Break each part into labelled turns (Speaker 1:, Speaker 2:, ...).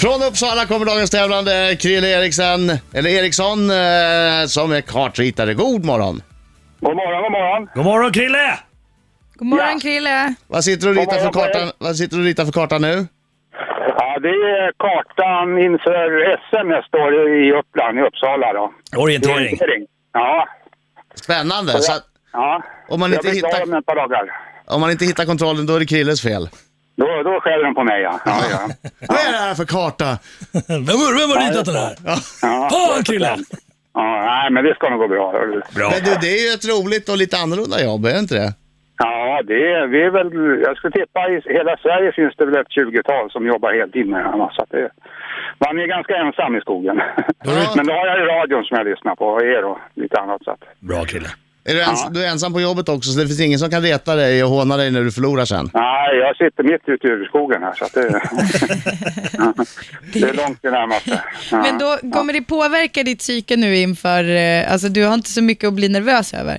Speaker 1: Från Uppsala kommer dagens tävlande Krille Eriksen, eller Eriksson, eh, som är kartritare. God morgon!
Speaker 2: God morgon, god morgon.
Speaker 3: God morgon Krille!
Speaker 4: God morgon
Speaker 2: Ja.
Speaker 4: Krille!
Speaker 1: Vad sitter du och ritar för
Speaker 2: morgon,
Speaker 1: kartan, vad sitter du och ritar för kartan nu?
Speaker 2: Ja, det är kartan inför SM nästa år i Uppland, i Uppsala då.
Speaker 3: Orientering.
Speaker 2: Ja.
Speaker 1: Spännande! Så att,
Speaker 2: ja.
Speaker 1: Om man
Speaker 2: jag
Speaker 1: inte
Speaker 2: blir
Speaker 1: hittar-
Speaker 2: klar om ett par dagar.
Speaker 1: om man inte hittar kontrollen, då är det Krilles fel.
Speaker 2: Då, då skäller de på mig ja. ja, ja.
Speaker 1: Vad är det här för karta?
Speaker 3: Vem har vem har ritat den här?
Speaker 2: ja.
Speaker 3: Fan Krille!
Speaker 2: Ja, nej, men det ska nog gå bra.
Speaker 3: Bra.
Speaker 1: Men du, det är ju ett roligt och lite annorlunda jobb, är det inte det?
Speaker 2: Ja, det är, vi är väl... Jag skulle tippa i hela Sverige finns det väl ett 20-tal som jobbar heltid med det här. va, Så att det, man är ganska ensam i skogen.
Speaker 1: Ja.
Speaker 2: Men då har jag ju radion som jag lyssnar på och er och lite annat. Så att,
Speaker 3: Bra Krille.
Speaker 1: Är du, ens, du är ensam på jobbet också, så det finns ingen som kan reta dig och håna dig när du förlorar sen.
Speaker 2: nej, jag sitter mitt ute i urskogen här så att det, det är långt till närmaste. Ja.
Speaker 4: Men då kommer det påverka ditt psyke nu inför, eh, alltså du har inte så mycket att bli nervös över.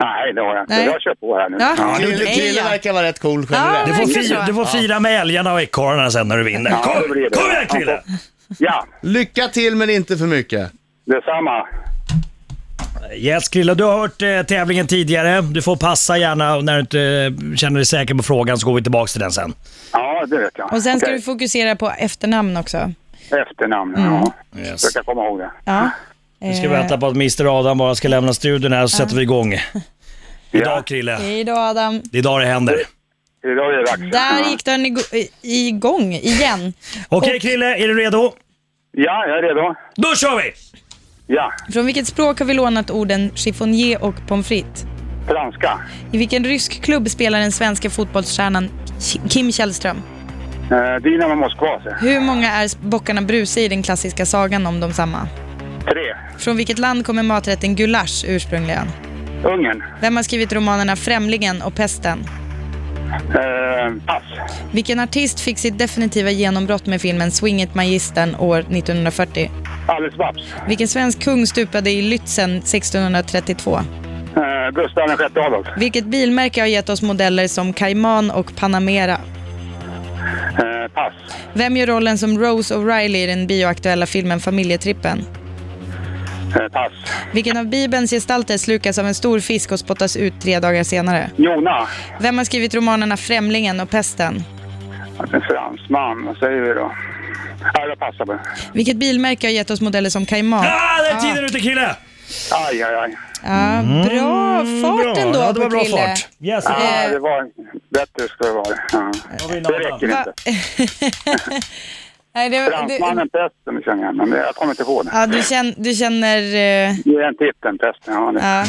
Speaker 2: Nej, det har jag inte.
Speaker 4: Nej.
Speaker 2: Jag kör på här nu.
Speaker 4: Ja.
Speaker 1: Krille,
Speaker 4: Nej,
Speaker 1: Krille
Speaker 4: ja.
Speaker 1: verkar vara rätt cool
Speaker 3: Du
Speaker 1: generellt.
Speaker 4: Ja,
Speaker 3: får,
Speaker 4: verkar
Speaker 3: fira,
Speaker 4: så.
Speaker 3: du får fira med älgarna och ekorrarna sen när du vinner.
Speaker 2: Ja, det
Speaker 3: Kom,
Speaker 2: blir det.
Speaker 3: kom igen Krille!
Speaker 2: Ja,
Speaker 1: Lycka till, men inte för mycket.
Speaker 2: detsamma.
Speaker 3: Yes Krille, du har hört eh, tävlingen tidigare. Du får passa gärna när du inte eh, känner dig säker på frågan så går vi tillbaka till den sen.
Speaker 2: Ja, det vet jag.
Speaker 4: Och sen ska
Speaker 2: Okej.
Speaker 4: du fokusera på efternamn också.
Speaker 2: Efternamn, ja.
Speaker 4: Mm.
Speaker 3: Yes.
Speaker 2: Försöka komma ihåg det.
Speaker 4: Ja.
Speaker 3: Nu ska vi
Speaker 4: Eh.
Speaker 3: vänta på att Mr Adam bara ska lämna studion här så sätter vi igång.
Speaker 2: Ja.
Speaker 3: Idag Krille,
Speaker 4: Hej då Adam.
Speaker 3: det är idag det händer.
Speaker 2: Idag är det dags.
Speaker 4: Där
Speaker 2: Ja.
Speaker 4: gick den igo- i- igång igen.
Speaker 3: Okej Krille, är du redo?
Speaker 2: Ja, jag är redo.
Speaker 3: Då kör vi!
Speaker 2: Ja,
Speaker 4: Från vilket språk har vi lånat orden chiffonier och pommes frites?
Speaker 2: franska.
Speaker 4: I vilken rysk klubb spelar den svenska fotbollsstjärnan Ki- Kim Källström?
Speaker 2: Eh, Dynamo Moskva, så.
Speaker 4: Hur många är bockarna Bruse i den klassiska sagan om dem samma?
Speaker 2: Tre.
Speaker 4: Från vilket land kommer maträtten gulasch ursprungligen?
Speaker 2: Ungern.
Speaker 4: Vem har skrivit romanerna Främlingen och Pesten?
Speaker 2: Eh, pass.
Speaker 4: Vilken artist fick sitt definitiva genombrott med filmen Swing it Magistern år 1940?
Speaker 2: Alice Babs.
Speaker 4: Vilken svensk kung stupade i Lützen 1632?
Speaker 2: Eh, Gustav den sjätte Adolf.
Speaker 4: Vilket bilmärke har gett oss modeller som Cayman och Panamera?
Speaker 2: Eh, pass.
Speaker 4: Vem gör rollen som Rose O'Reilly i den bioaktuella filmen Familjetrippen?
Speaker 2: Eh, pass.
Speaker 4: Vilken av Bibelns gestalter slukas av en stor fisk och spottas ut tre dagar senare?
Speaker 2: Jona.
Speaker 4: Vem har skrivit romanerna Främlingen och Pesten?
Speaker 2: En fransman. Vad säger vi då? Ja, jag passar på. det.
Speaker 4: Vilket bilmärke har gett oss modeller som Cayman?
Speaker 3: Ah, där är tiden ute Krille!
Speaker 2: Aj, aj, aj.
Speaker 4: Ja, bra fart ändå
Speaker 3: ja, det var
Speaker 4: på
Speaker 3: bra
Speaker 4: Krille.
Speaker 3: fart. Yes.
Speaker 4: Eh.
Speaker 2: Ah, det var bättre skulle det vara. Ja. Det räcker
Speaker 4: Va-
Speaker 2: inte.
Speaker 4: Nej, det, det,
Speaker 2: Fransmannen, pesten känner jag, men det- jag kommer inte ihåg det.
Speaker 4: ja, du, känner, du känner... eh,
Speaker 2: Ge en titeln, pesten. Ja, det.
Speaker 4: Ja.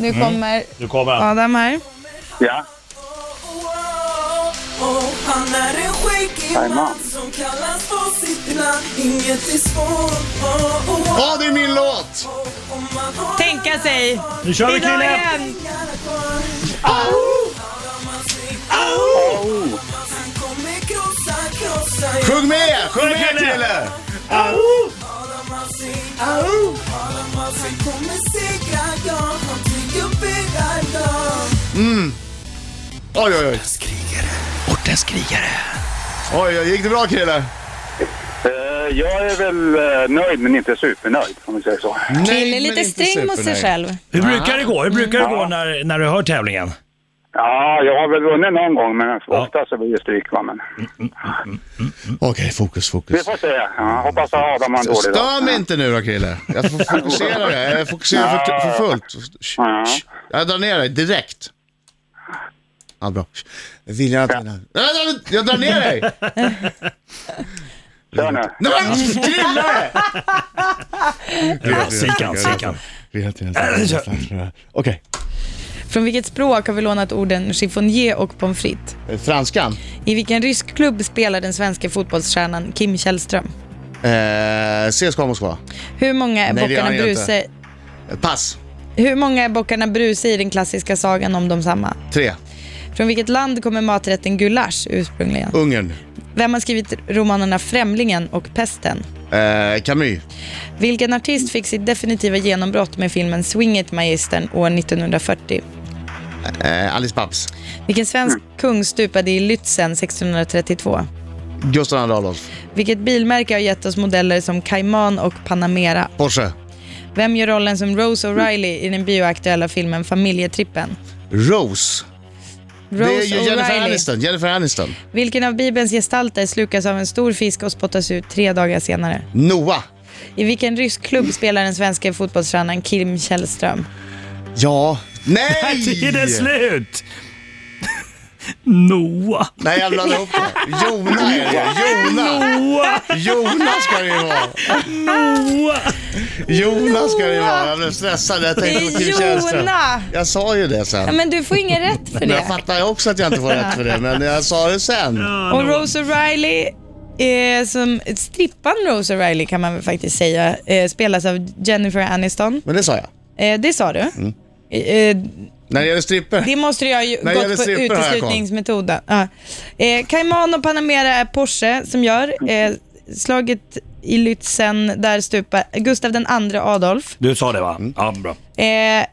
Speaker 4: Nu kommer
Speaker 3: Nu kommer han.
Speaker 4: Adam här.
Speaker 2: ja.
Speaker 5: Han är en
Speaker 2: Hej,
Speaker 5: skäggig
Speaker 2: man.
Speaker 5: man som kallas på sitt namn Inget är svårt oh, oh,
Speaker 1: Ja, det är min låt!
Speaker 5: oh, om man har
Speaker 4: Tänka sig.
Speaker 3: Nu kör vi
Speaker 4: Idag
Speaker 3: Krille!
Speaker 4: igen.
Speaker 5: pengarna kvar Han kommer krossa, krossa er
Speaker 1: Sjung med! Sjung
Speaker 3: Sjung,
Speaker 1: med,
Speaker 3: Krille!
Speaker 1: Krille!
Speaker 5: Adam Alsing Adam Alsing kommer segra, ja Han bygger upp era lag
Speaker 1: Oj, oj, oj.
Speaker 3: Ortens krigare.
Speaker 1: Oj, oj, gick det bra, Krille?
Speaker 2: Eh, Jag är väl eh, nöjd, men inte supernöjd, om vi säger så.
Speaker 4: Krille är
Speaker 1: men inte
Speaker 4: lite sträng mot sig
Speaker 1: supernöjd.
Speaker 4: själv.
Speaker 3: Hur brukar det gå, Hur brukar det gå när, när du hör tävlingen?
Speaker 2: Ja, jag har väl vunnit någon gång, men ofta så blir det stryk. Va? Men
Speaker 1: Okej, fokus,
Speaker 2: vi
Speaker 1: fokus.
Speaker 2: får se. Ja, hoppas att Adam har en dålig
Speaker 1: Stör mig
Speaker 2: dag.
Speaker 1: inte nu då, Krille. Jag får fokusera det. Jag fokuserar för, för fullt.
Speaker 2: Ja.
Speaker 1: Jag drar ner dig direkt. Ja, bra. Viljan att vinna. Jag drar- Jag drar ner dig!
Speaker 2: Kör nu.
Speaker 1: Nej, men Krille!
Speaker 3: Ja, Sikan, Sikan.
Speaker 1: Viljan att vinna. Okej.
Speaker 4: Från vilket språk har vi lånat orden chiffonier och pommes frites?
Speaker 1: Franskan.
Speaker 4: I vilken rysk klubb spelar den svenska fotbollsstjärnan Kim Källström?
Speaker 1: Eh, CSKA Moskva.
Speaker 4: Hur många är
Speaker 1: Nej, det
Speaker 4: bockarna
Speaker 1: har jag inte.
Speaker 4: Bruse...
Speaker 1: Pass.
Speaker 4: Hur många är bockarna Bruse i den klassiska sagan om dem samma?
Speaker 1: Tre.
Speaker 4: Från vilket land kommer maträtten gulasch ursprungligen?
Speaker 1: Ungern.
Speaker 4: Vem har skrivit romanerna Främlingen och Pesten?
Speaker 1: Eh, Camus.
Speaker 4: Vilken artist fick sitt definitiva genombrott med filmen Swing it Magistern år 1940?
Speaker 1: Eh, Alice Babs. Mm.
Speaker 4: Vilken svensk kung stupade i Lützen 1632?
Speaker 1: Gustav II Adolf.
Speaker 4: Vilket bilmärke har gett oss modeller som Cayman och Panamera?
Speaker 1: Porsche.
Speaker 4: Vem gör rollen som Rose O'Reilly i den bioaktuella filmen Familjetrippen?
Speaker 1: Rose.
Speaker 4: Rose
Speaker 1: det är ju Jennifer
Speaker 4: O'Reilly.
Speaker 1: Aniston. Jennifer Aniston.
Speaker 4: Vilken av Bibelns gestalter slukas av en stor fisk och spottas ut tre dagar senare?
Speaker 1: Noah.
Speaker 4: I vilken rysk klubb spelar den svenska fotbollstränaren Kim Källström?
Speaker 1: Ja. Nej!
Speaker 3: Tiden slut! Noah.
Speaker 1: Nej, jag blandade ihop det. Jona är det. Jona.
Speaker 3: Noah.
Speaker 1: Jona ska det ju vara.
Speaker 3: Noah.
Speaker 1: Jona ska det ju vara. Jag blev stressad. Jag
Speaker 4: Det
Speaker 1: tänkte på Kim
Speaker 4: är
Speaker 1: Källström.
Speaker 4: Jona!
Speaker 1: Jag sa ju det sen.
Speaker 4: Ja, men du får ingen rätt för
Speaker 1: Men jag
Speaker 4: det.
Speaker 1: fattar ju också att jag inte får rätt för det, men jag sa det sen.
Speaker 4: Och Rose O'Reilly, eh, som strippan Rose O'Reilly kan man väl faktiskt säga, eh, spelas av Jennifer Aniston.
Speaker 1: Men det sa jag.
Speaker 4: Eh, det sa du. Eh,
Speaker 1: När det gäller strippor.
Speaker 4: det måste du ha ju
Speaker 1: När det gäller
Speaker 4: gått på
Speaker 1: strippor har jag koll.
Speaker 4: uteslutningsmetoden. Ja. Eh, Cayman och Panamera är Porsche som gör. Eh, slaget i Lützen, där stupar Gustav den andre Adolf.
Speaker 3: Du sa det va?
Speaker 1: Mm.
Speaker 3: Ja, bra.
Speaker 4: Eh,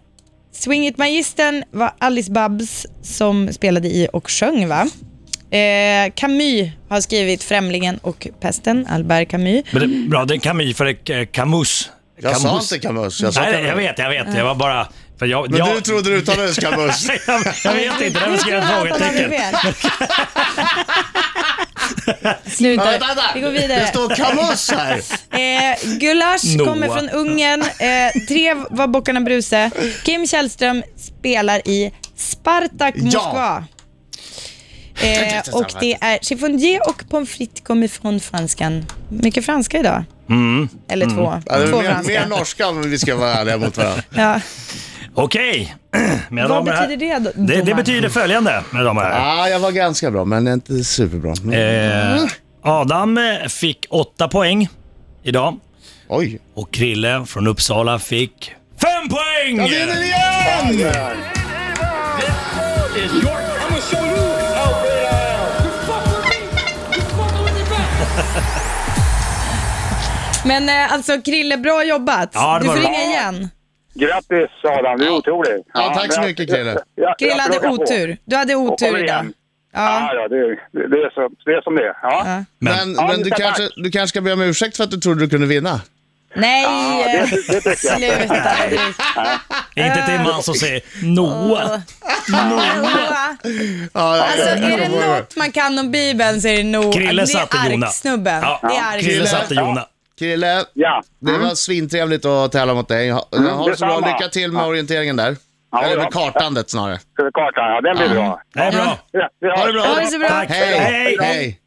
Speaker 4: Swingit Magistern var Alice Babs som spelade i och sjöng va? Eh, Camus har skrivit Främlingen och Pesten, Albert Camus.
Speaker 3: Men det, bra, det är Camus för det är Camus.
Speaker 1: Jag sa
Speaker 3: Camus.
Speaker 1: inte Camus. Jag sa
Speaker 3: Nej,
Speaker 1: Camus.
Speaker 3: jag vet, jag vet. Jag var bara... För jag,
Speaker 1: Men
Speaker 3: jag,
Speaker 1: du trodde du talade just Camus.
Speaker 3: jag, jag vet inte, därför skrev jag ett frågetecken.
Speaker 4: Sluta.
Speaker 1: Ja, vänta, vänta.
Speaker 4: Vi går vidare.
Speaker 1: Det står Camus här.
Speaker 4: Eh, gulasch
Speaker 3: Noah.
Speaker 4: kommer från Ungern. Eh, tre var Bockarna Bruse. Kim Källström spelar i Spartak Moskva. Eh, och det är chiffondier och pommes frites kommer från franskan. Mycket franska idag.
Speaker 3: Mm.
Speaker 4: Eller två.
Speaker 1: Ja, det är
Speaker 4: Två
Speaker 1: mer, mer
Speaker 4: franska.
Speaker 1: norska om vi ska vara ärliga mot varandra.
Speaker 4: Ja.
Speaker 3: Okej. Mina
Speaker 4: Vad
Speaker 3: damer och herrar.
Speaker 4: betyder det, då-
Speaker 3: Det, det
Speaker 4: domaren?
Speaker 3: betyder följande, mina damer och herrar.
Speaker 1: Ja, jag var ganska bra, men inte superbra. Mm.
Speaker 3: Eh, Adam eh, fick åtta poäng idag
Speaker 1: Oj.
Speaker 3: och Krille från Uppsala fick fem poäng!
Speaker 1: Jag vinner igen!
Speaker 4: Men eh, alltså Krille, bra jobbat.
Speaker 3: Ja, det
Speaker 4: du
Speaker 3: var
Speaker 4: får
Speaker 3: bra.
Speaker 4: ringa igen.
Speaker 2: Grattis Adam, du är otrolig.
Speaker 1: Ja, tack så
Speaker 2: men jag-
Speaker 1: mycket, Krille.
Speaker 2: jag- jag-
Speaker 4: Krille
Speaker 2: jag
Speaker 4: hade
Speaker 2: pluggar på.
Speaker 4: otur. Du hade
Speaker 2: Kom
Speaker 4: otur
Speaker 2: igen.
Speaker 4: idag.
Speaker 2: Ja,
Speaker 4: Ja.
Speaker 2: ja det, det, det, är så, det är som det är. Ja.
Speaker 4: Ja.
Speaker 1: Men,
Speaker 2: Ja,
Speaker 1: men du,
Speaker 2: tack.
Speaker 1: kanske, du kanske ska be om ursäkt för att du trodde du kunde vinna.
Speaker 4: Nej,
Speaker 2: Ja, det, det tycker jag.
Speaker 4: sluta.
Speaker 3: Inte till en man som säger Noah.
Speaker 4: Noah.
Speaker 1: Ja, ja,
Speaker 4: Alltså
Speaker 1: ja, ja,
Speaker 4: är det
Speaker 1: ja.
Speaker 4: något man kan om Bibeln så är det nog...
Speaker 3: Krille satte
Speaker 4: Det är
Speaker 3: Jona.
Speaker 4: arksnubben.
Speaker 3: Ja,
Speaker 4: Det är
Speaker 3: Krille
Speaker 1: Krille.
Speaker 4: arksnubben.
Speaker 3: satte Jona.
Speaker 1: Krille,
Speaker 2: Ja. Mm.
Speaker 1: det var svintrevligt att tävla mot dig. Ha, ha det så bra.
Speaker 2: detsamma.
Speaker 1: Lycka till med orienteringen där.
Speaker 2: Ja,
Speaker 1: Eller med
Speaker 2: ja.
Speaker 1: kartandet snarare.
Speaker 2: Ska vi karta? Ja, den blir bra.
Speaker 3: Det är bra.
Speaker 2: Ja, vi har-
Speaker 1: Ha det bra!
Speaker 4: Ha det så bra.
Speaker 3: Tack.
Speaker 1: Hej!
Speaker 3: Hej.
Speaker 1: Hej!